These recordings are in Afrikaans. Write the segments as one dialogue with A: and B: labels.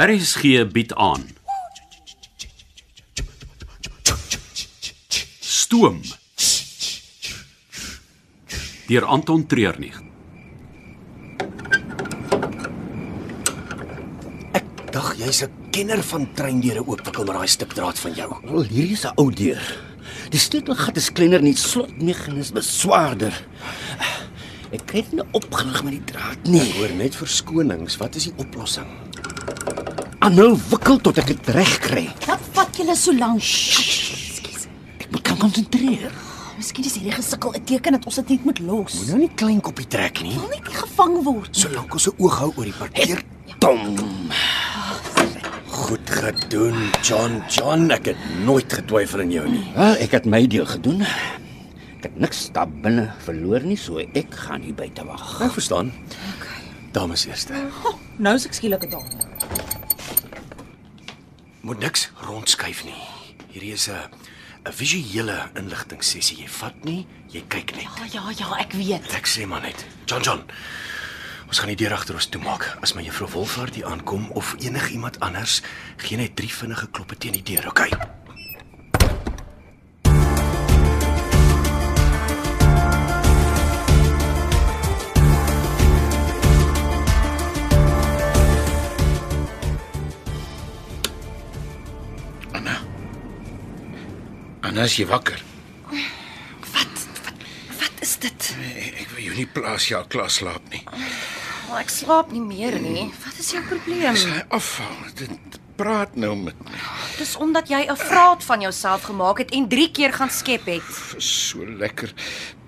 A: RSG bied aan. Stoom. Deur Anton Treurnig.
B: Dag, jy's 'n kenner van treindeure oopwikkel met daai stuk draad van jou.
C: Wel, hier is 'n ou deur. Die sleutelgat is kleiner en die slotmeganisme swaarder. Ek kry dit nie opgerig met die draad
B: Ek
C: nie.
B: hoor net verskonings. Wat is die oplossing?
C: Aanhou wikkel tot ek dit reg kry.
D: Wat vat julle so lank? Ekskuus. ah,
C: Ek moet kan konsentreer.
D: Miskien is hierdie gesukkel 'n teken dat ons dit net moet los.
B: Moenie nou nie klein koppie trek nie.
D: Wil net nie gevang word. nie.
B: Solank ons 'n oog hou oor die parkeer.
C: Tom.
B: Goed gedoen, John. John, ek het nooit getwyfel aan jou nie.
C: Wel, ek het my deel gedoen. Ek het niks stap binne verloor nie, so ek gaan hier buite wag.
B: Ek verstaan. Dames eerste.
D: Nou is ek skielik daar.
B: Moet niks rondskuif nie. Hierdie is 'n 'n visuele inligting sessie. Jy vat nie, jy kyk net.
D: Ja ja ja, ek weet.
B: Ek sê maar net. John John. Ons gaan die deur agter ons toemaak. As my juffrou Wolfhard hier aankom of enigiemand anders, gee net drie vinnige kloppe teen die deur, okay?
E: Anna, is jy wakker?
D: Wat wat, wat is dit?
E: Ek, ek wil jou nie plaas jy al klaar slaap nie.
D: Oh, ek slaap nie meer nie. Wat is jou probleem?
E: Dis hy afval. Dit praat nou met my.
D: Dis omdat jy 'n vraat van jouself gemaak het en 3 keer gaan skep het.
E: Dis so lekker.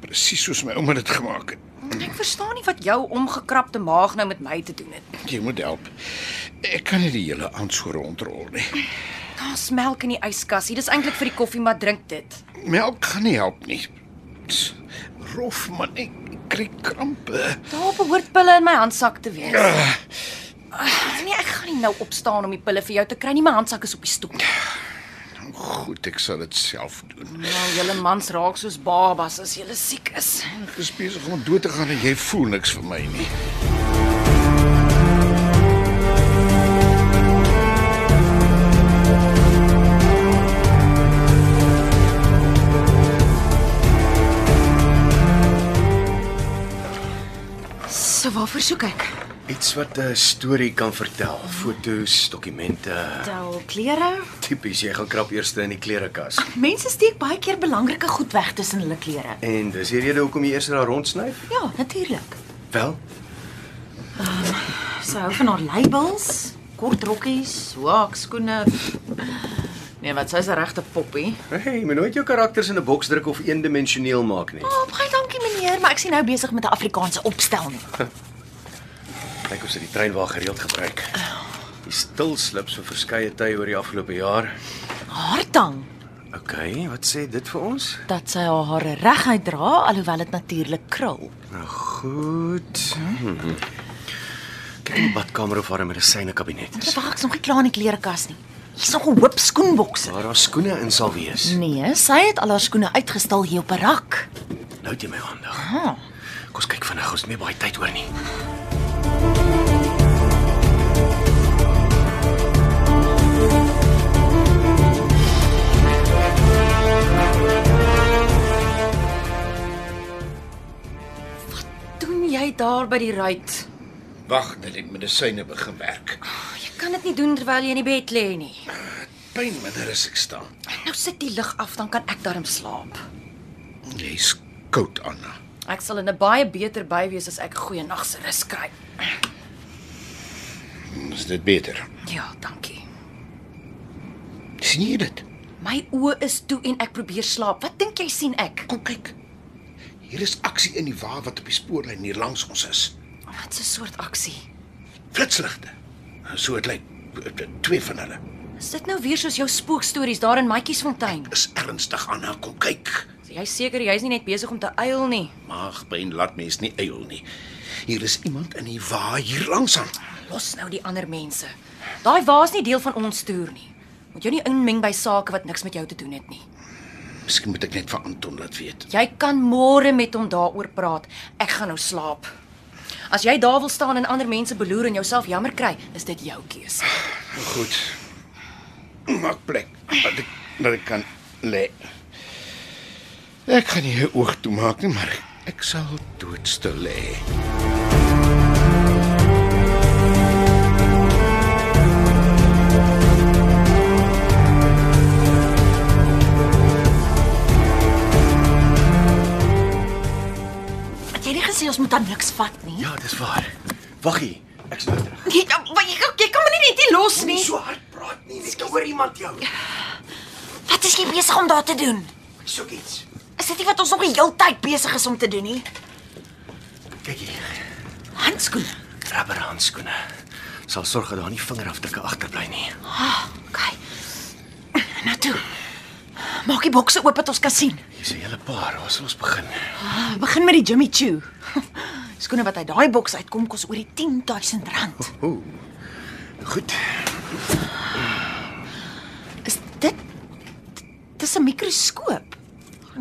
E: Presies soos my ouma dit gemaak het.
D: Ek verstaan nie wat jou omgekrapte maag nou met my te doen het.
E: Jy moet help. Ek kan nie die hele aand so rondrol nie.
D: Daar's melk in die yskassie. Dis eintlik vir die koffie, maar drink dit.
E: Melk gaan nie help nie. Dis Rof man, ek ek kry krampe.
D: Daar behoort pille in my handsak te wees.
E: Ah.
D: Ag, Nee, ek gaan nie nou opstaan om die pille vir jou te kry nie. My handsak is op die stoep.
E: Goed, ek sal dit self doen.
D: Nou, julle mans raak soos babas as julle siek is.
E: Ek is besig om dood te gaan en jy voel niks vir my nie.
D: So waarvoor soek ek?
B: Iets wat 'n storie kan vertel. Fotos, dokumente.
D: Tel klere.
B: Tipies jy gaan krap eers in die klerekas.
D: Mense steek baie keer belangrike goed weg tussen hulle klere.
B: En dis die rede hoekom jy eers daar rondsnyf?
D: Ja, natuurlik.
B: Wel,
D: Sy hou van haar labels, kort rokkies, hoekskoene. Nee, wat sy's 'n regte poppie.
B: hey, jy moet nooit jou karakters in 'n boks druk of eendimensioneel maak nie.
D: Oh, baie dankie meneer, maar ek sien nou besig met 'n Afrikaanse opstel nie.
B: Kyk of sy die trein waar gereeld gebruik. Die stil slips vir verskeie tye oor die afgelope jaar.
D: Haar tang
B: OK, wat sê dit vir ons?
D: dat sy haar hare reguit dra alhoewel dit natuurlik krul.
B: Nou goed. Hmm. Kyk in die badkamer of haar 'n medisyne-kabinet is.
D: Wag, ek's nog nie klaar in die klerekas nie. Hier's nog 'n hoop skoenbokse.
B: Waar haar skoene in sal wees.
D: Nee, sy het al haar skoene uitgestal hier op 'n rak.
B: Nou het jy my aandag.
D: Ah.
B: Kom ons kyk vinnig, ons het nie baie tyd oor nie.
D: Doen jy daar by die ruit?
E: Wag dat die medisyne begin werk.
D: Jy kan dit nie doen terwyl jy in die bed lê nie.
E: Pyn minder as ek staan.
D: Nou sit die lig af, dan kan ek darm slaap.
E: Jy's koud, Anna.
D: Ek sal in 'n baie beter by wees as ek 'n goeie nag se rus kry.
E: Is dit beter?
D: Ja, dankie.
E: sien jy dit?
D: My oë is toe en ek probeer slaap. Wat dink jy sien ek?
E: Kom kyk. Hier is aksie in die wa wat op die spoorlyn hier langs ons is.
D: Wat 'n soort aksie.
E: Flitsligte. So dit lyk eh, twee van hulle.
D: Is dit nou weer soos jou spookstories daar in Matjiesfontein?
E: Is ernstig Anna, kom kyk.
D: Jy seker jy's nie net besig om te uil nie.
E: Maagpyn laat mens nie eil nie. Hier is iemand in die wa hier langs aan.
D: Los nou die ander mense. Daai waas nie deel van ons toer nie. Moet jou nie inmeng by sake wat niks met jou te doen het nie.
E: Miskien moet ek net vir Anton laat weet.
D: Jy kan môre met hom daaroor praat. Ek gaan nou slaap. As jy daar wil staan en ander mense beloer en jouself jammer kry, is dit jou keuse.
E: Goed. Maak plek dat ek dat ek kan lê. Ek gaan nie 'n oog toemaak nie, maar ek sal doodstil lê.
F: Het jy nie gesê ons moet dan niks vat nie?
B: Ja, dis waar. Waggie, ek's nou terug.
F: Jy, maar jy, jy kan my nie net hier los nie.
B: so hard praat nie, net hoor iemand jou.
F: Wat is jy besig om daar te doen?
B: Soek iets.
F: Is dit nie wat ons nog die hele tyd besig is om te doen nie?
B: Kyk hier.
F: Handskoene.
B: Rubberhandskoene. Sal sorg dat daar nie vingerafdrukke agterbly nie.
F: Okay. Nou toe. Maak die bokse oop dat ons kan sien.
B: Hier's 'n hele paar. Waar sal ons begin?
F: Begin met die Jimmy Choo. Skoene wat uit daai boks uitkom kos oor die 10000 rand.
B: Nou Goed.
F: Is dit Dis 'n mikroskoop. Ek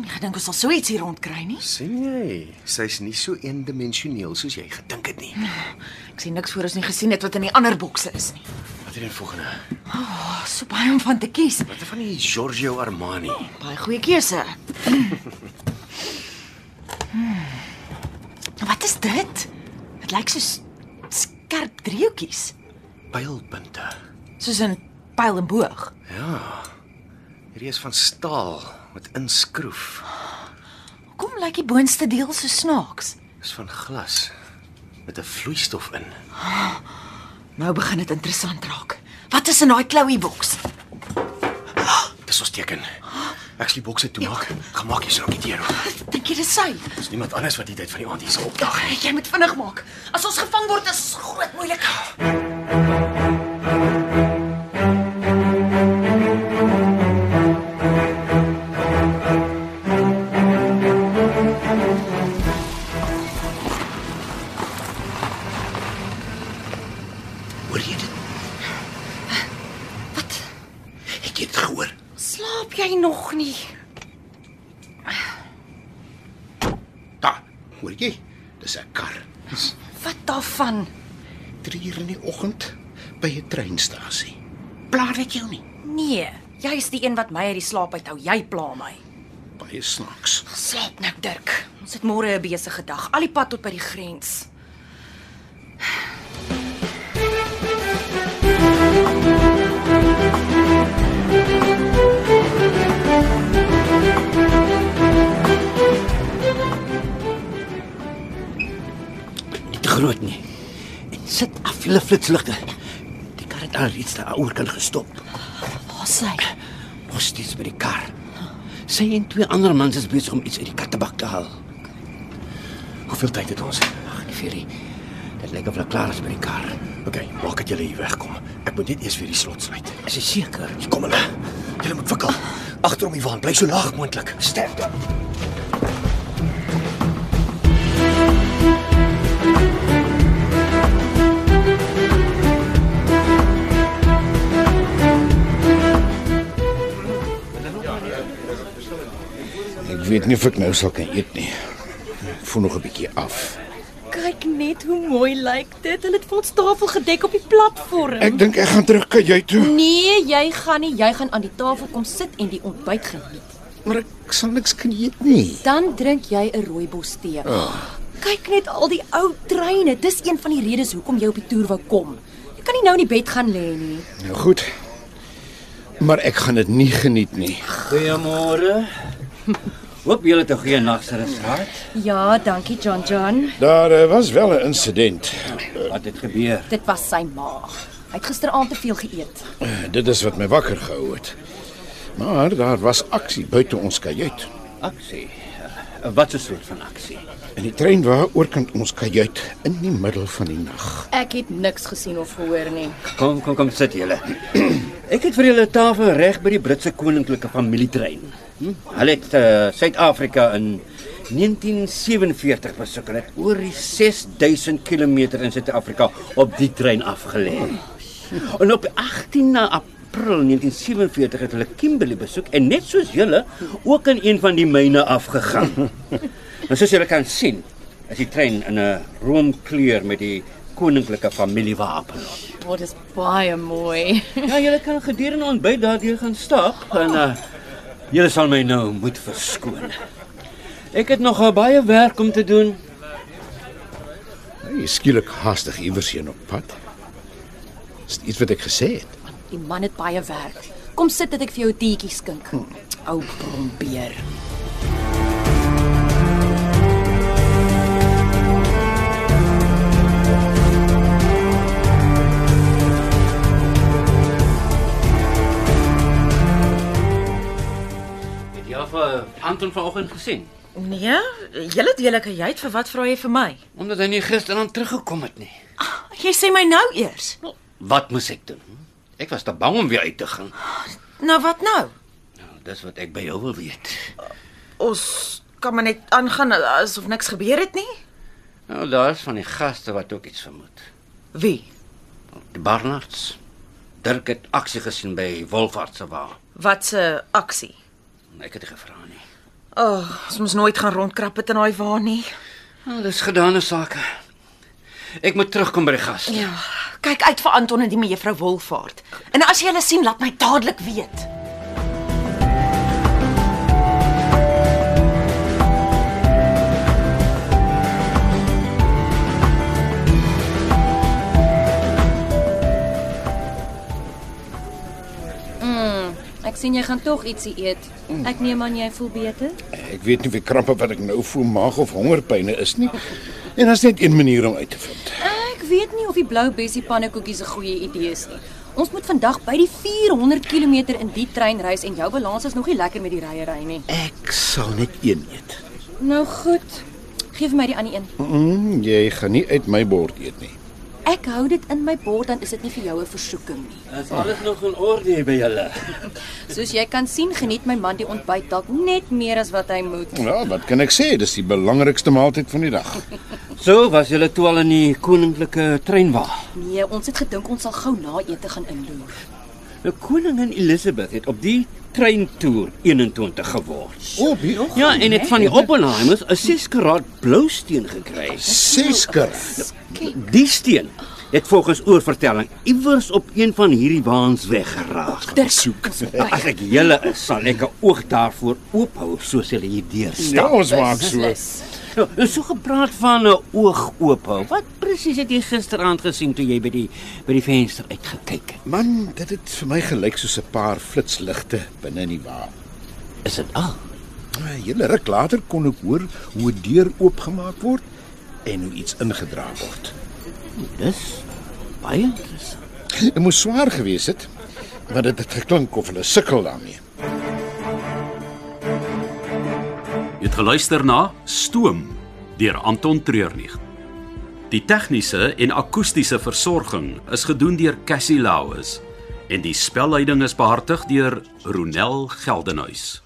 F: het nie gedink ons sal so iets hier rond kry nie.
B: sien jy? Sy's nie so eendimensioneel soos jy gedink het nie.
F: Ek sien niks voor ons nie gesien het wat in die ander bokse is nie.
B: Wat is die volgende?
F: Daar's so baie om van te kies.
B: Wat van die Giorgio Armani?
F: Baie goeie keuse. hmm. Wat is dit? Dit lyk soos skerp driehoekies,
B: Pylpunte.
F: soos 'n pyl en boog.
B: Hierdie is van staal met inskroef.
F: Hoekom lyk die boonste deel so snaaks?
B: Dis van glas met 'n vloeistof in.
F: Nou begin dit interessant raak. Wat is in daai Chloe boks?
B: Dis ons teken. Ek sal die bokse toemaak. Gemaak hier sou ek dit hier.
F: Dink jy dis sy?
B: Dis niemand anders wat die tyd van die aand hier sal opdag.
F: Jy moet vinnig maak. As ons gevang word, is ons groot moeilikheid.
B: Ja, Hoor jy dit?
F: Wat?
B: Ek het gehoor.
D: Slaap jy nog nie?
E: Daar. Hoor jy? Dis 'n kar. Dis
D: Wat daarvan?
E: 3 uur in die oggend by 'n treinstasie. Plaar dit jou nie.
D: Nee, jy is die een wat my uit die slaap uithou. Jy pla my.
E: Baie snaaks.
D: Slaap nou, Dirk. Ons het môre 'n besige dag, al die pad tot by die grens.
C: Nie te groot nie. En sit af hulle flitsligte. Die kar het alreeds daar oor kan gestop.
F: Waar sy?
C: Nog steeds by die kar. Sy en twee ander mans is besig om iets uit die kattebak te haal.
B: Hoeveel tyd het ons?
C: Ag, die furie. Dit lyk of hulle klaar is by die kar.
B: OK, maak dat julle hier wegkom. Ek moet net eers weer die slot sluit.
C: Is jy seker?
B: Hier kom hulle. Julle moet wikkel. Agterom die waan, bly so laag moontlik. Sterkte.
E: Ek weet nie of ek nou sal kan eet nie. Ek voel nog 'n bietjie af.
G: Kyk net hoe mooi lyk dit. Hulle het vir ons tafel gedek op die platform.
E: Ek dink ek gaan terug kajuit toe,
G: Nee, jy gaan nie. Jy gaan aan die tafel kom sit en die ontbyt geniet.
E: maar ek sal niks kan eet nie.
G: Dan drink jy 'n rooibos tee. Oh. Kyk net al die ou treine. Dis een van die redes hoekom jy op die toer wou kom. Jy kan nie nou in die bed gaan lê nie.
E: Nou goed. Maar ek gaan dit nie geniet nie.
C: Goeiemôre. Hoop julle het 'n goeie nag se rus gehad.
G: Ja, dankie John John.
E: Daar eh, was wel 'n insident.
C: Wat het gebeur?
G: Dit was sy ma. Hy het gisteraand te veel geëet.
E: Eh, Dit is wat my wakker gehou het. Maar daar was aksie buite ons kajuit.
C: Aksie. Eh, Wat 'n soort van aksie?
E: En die trein wa oorkant ons kajuit in die middel van die nag.
G: Ek het niks gesien of gehoor nie.
C: Kom, kom, kom sit julle. Ek het vir julle 'n tafel reg by die Britse koninklike familietrein. Hm? Hulle het eh, Suid-Afrika in 1947 besoek en het oor die 6000 km in Suid-Afrika op die trein afgelê. En op 18 na April 1947 het hulle Kimberley besoek en net soos julle ook in een van die myne afgegaan. Nou soos julle kan sien, is die trein in 'n roomkleur met die koninklike familiewapen op.
D: Wat is baie mooi.
C: Ja, julle kan gedurende ontbyt daardeur gaan stap en uh, julle sal my nou moet verskoon. Ek het nog eh, baie werk om te doen.
E: Hy is skielik haastig iewers heen op pad. Is dit iets wat ek gesê het?
H: Die man het baie werk. Kom sit dat ek vir jou 'n teetjie skink. Ou brombeer.
C: Het jy vir Anton vanoggend gesien?
F: Nee, julle het eerlik, jy het vir wat vra jy vir my?
C: Omdat hy nie gisteraan teruggekom het nie.
F: Jy sê my nou eers.
C: Wat moes ek doen? Ek was te bang om weer uit te gaan.
F: Nou wat nou?
C: Nou, dis wat ek by jou wil weet.
F: Ons kan maar net aangaan asof niks gebeur het nie.
C: Nou daar's van die gaste wat ook iets vermoed.
F: Wie?
C: Die Barnards. Dirk het aksie gesien by Wolfhard se wa.
F: Wat se aksie?
C: Ek het nie gevra nie.
F: O, oh, ons moes nooit gaan rondkrap het in daai wa nie.
C: Nou, dis gedane sake. Ek moet terugkom by die gaste.
F: Ja, kyk uit vir Anton en die mevrou Wolfaart. En as jy hulle sien, laat my dadelik weet.
D: Mm, Ek sien jy gaan tog ietsie eet. Ek neem aan jy voel beter.
E: Nee, Ek weet nie wie krampe wat ek nou voel maag of hongerpyne is nie. En daar's net een manier om uit te vind.
D: Ek weet nie of die blou bessie pannekoekies 'n goeie idee is nie. Ons moet vandag by die 400 km in die trein reis en jou balans is nog nie lekker met die ryery nie.
I: Ek sal net een eet.
D: Nou goed. Geef my die ander een.
E: Mm, jy gaan nie uit my bord eet nie.
D: Ek hou dit in my bord dan is dit nie vir jou 'n versoeking nie.
C: Is alles nog in orde by julle?
D: Soos jy kan sien, geniet my man die ontbyt dalk net meer as wat hy moet.
E: Ja, wat kan ek sê? Dis die belangrikste maaltyd van die dag.
C: So, was julle toe al in die koninklike treinwa?
D: Nee, ons het gedink ons sal gou na ete gaan inloer.
C: Nou koningin Elizabeth het op die treintoer 21 geword.
E: Op hier.
C: Ja, en het van die Oppenheimers 'n 6 karaat blou steen gekry.
E: Sesker.
C: Die steen het volgens oorvertelling iewers op een van hierdie waans weggeraak.
E: Soek.
C: As ek julle is, sal ek 'n oog daarvoor oophou soos hulle hier deur
E: Ja,
C: staan.
E: ons maak so.
C: Nou, nou, so gepraat van 'n oog oophou. Wat presies het jy gisteraand gesien toe jy by die by die venster uitgekyk het?
E: Man, dit het vir my gelyk soos 'n paar flitsligte binne in die wa.
C: Is dit al?
E: Julle ruk later kon ek hoor hoe 'n deur oopgemaak word en hoe iets ingedra word.
C: Dis baie interessant.
E: Dit moes swaar gewees het, maar dit het geklink of hulle sukkel daarmee.
A: Jy het geluister na Stoom deur Anton Treurnig. Die tegniese en akoestiese versorging is gedoen deur Cassie Lauis en die spelleiding is behartig deur Ronel Geldenhuys.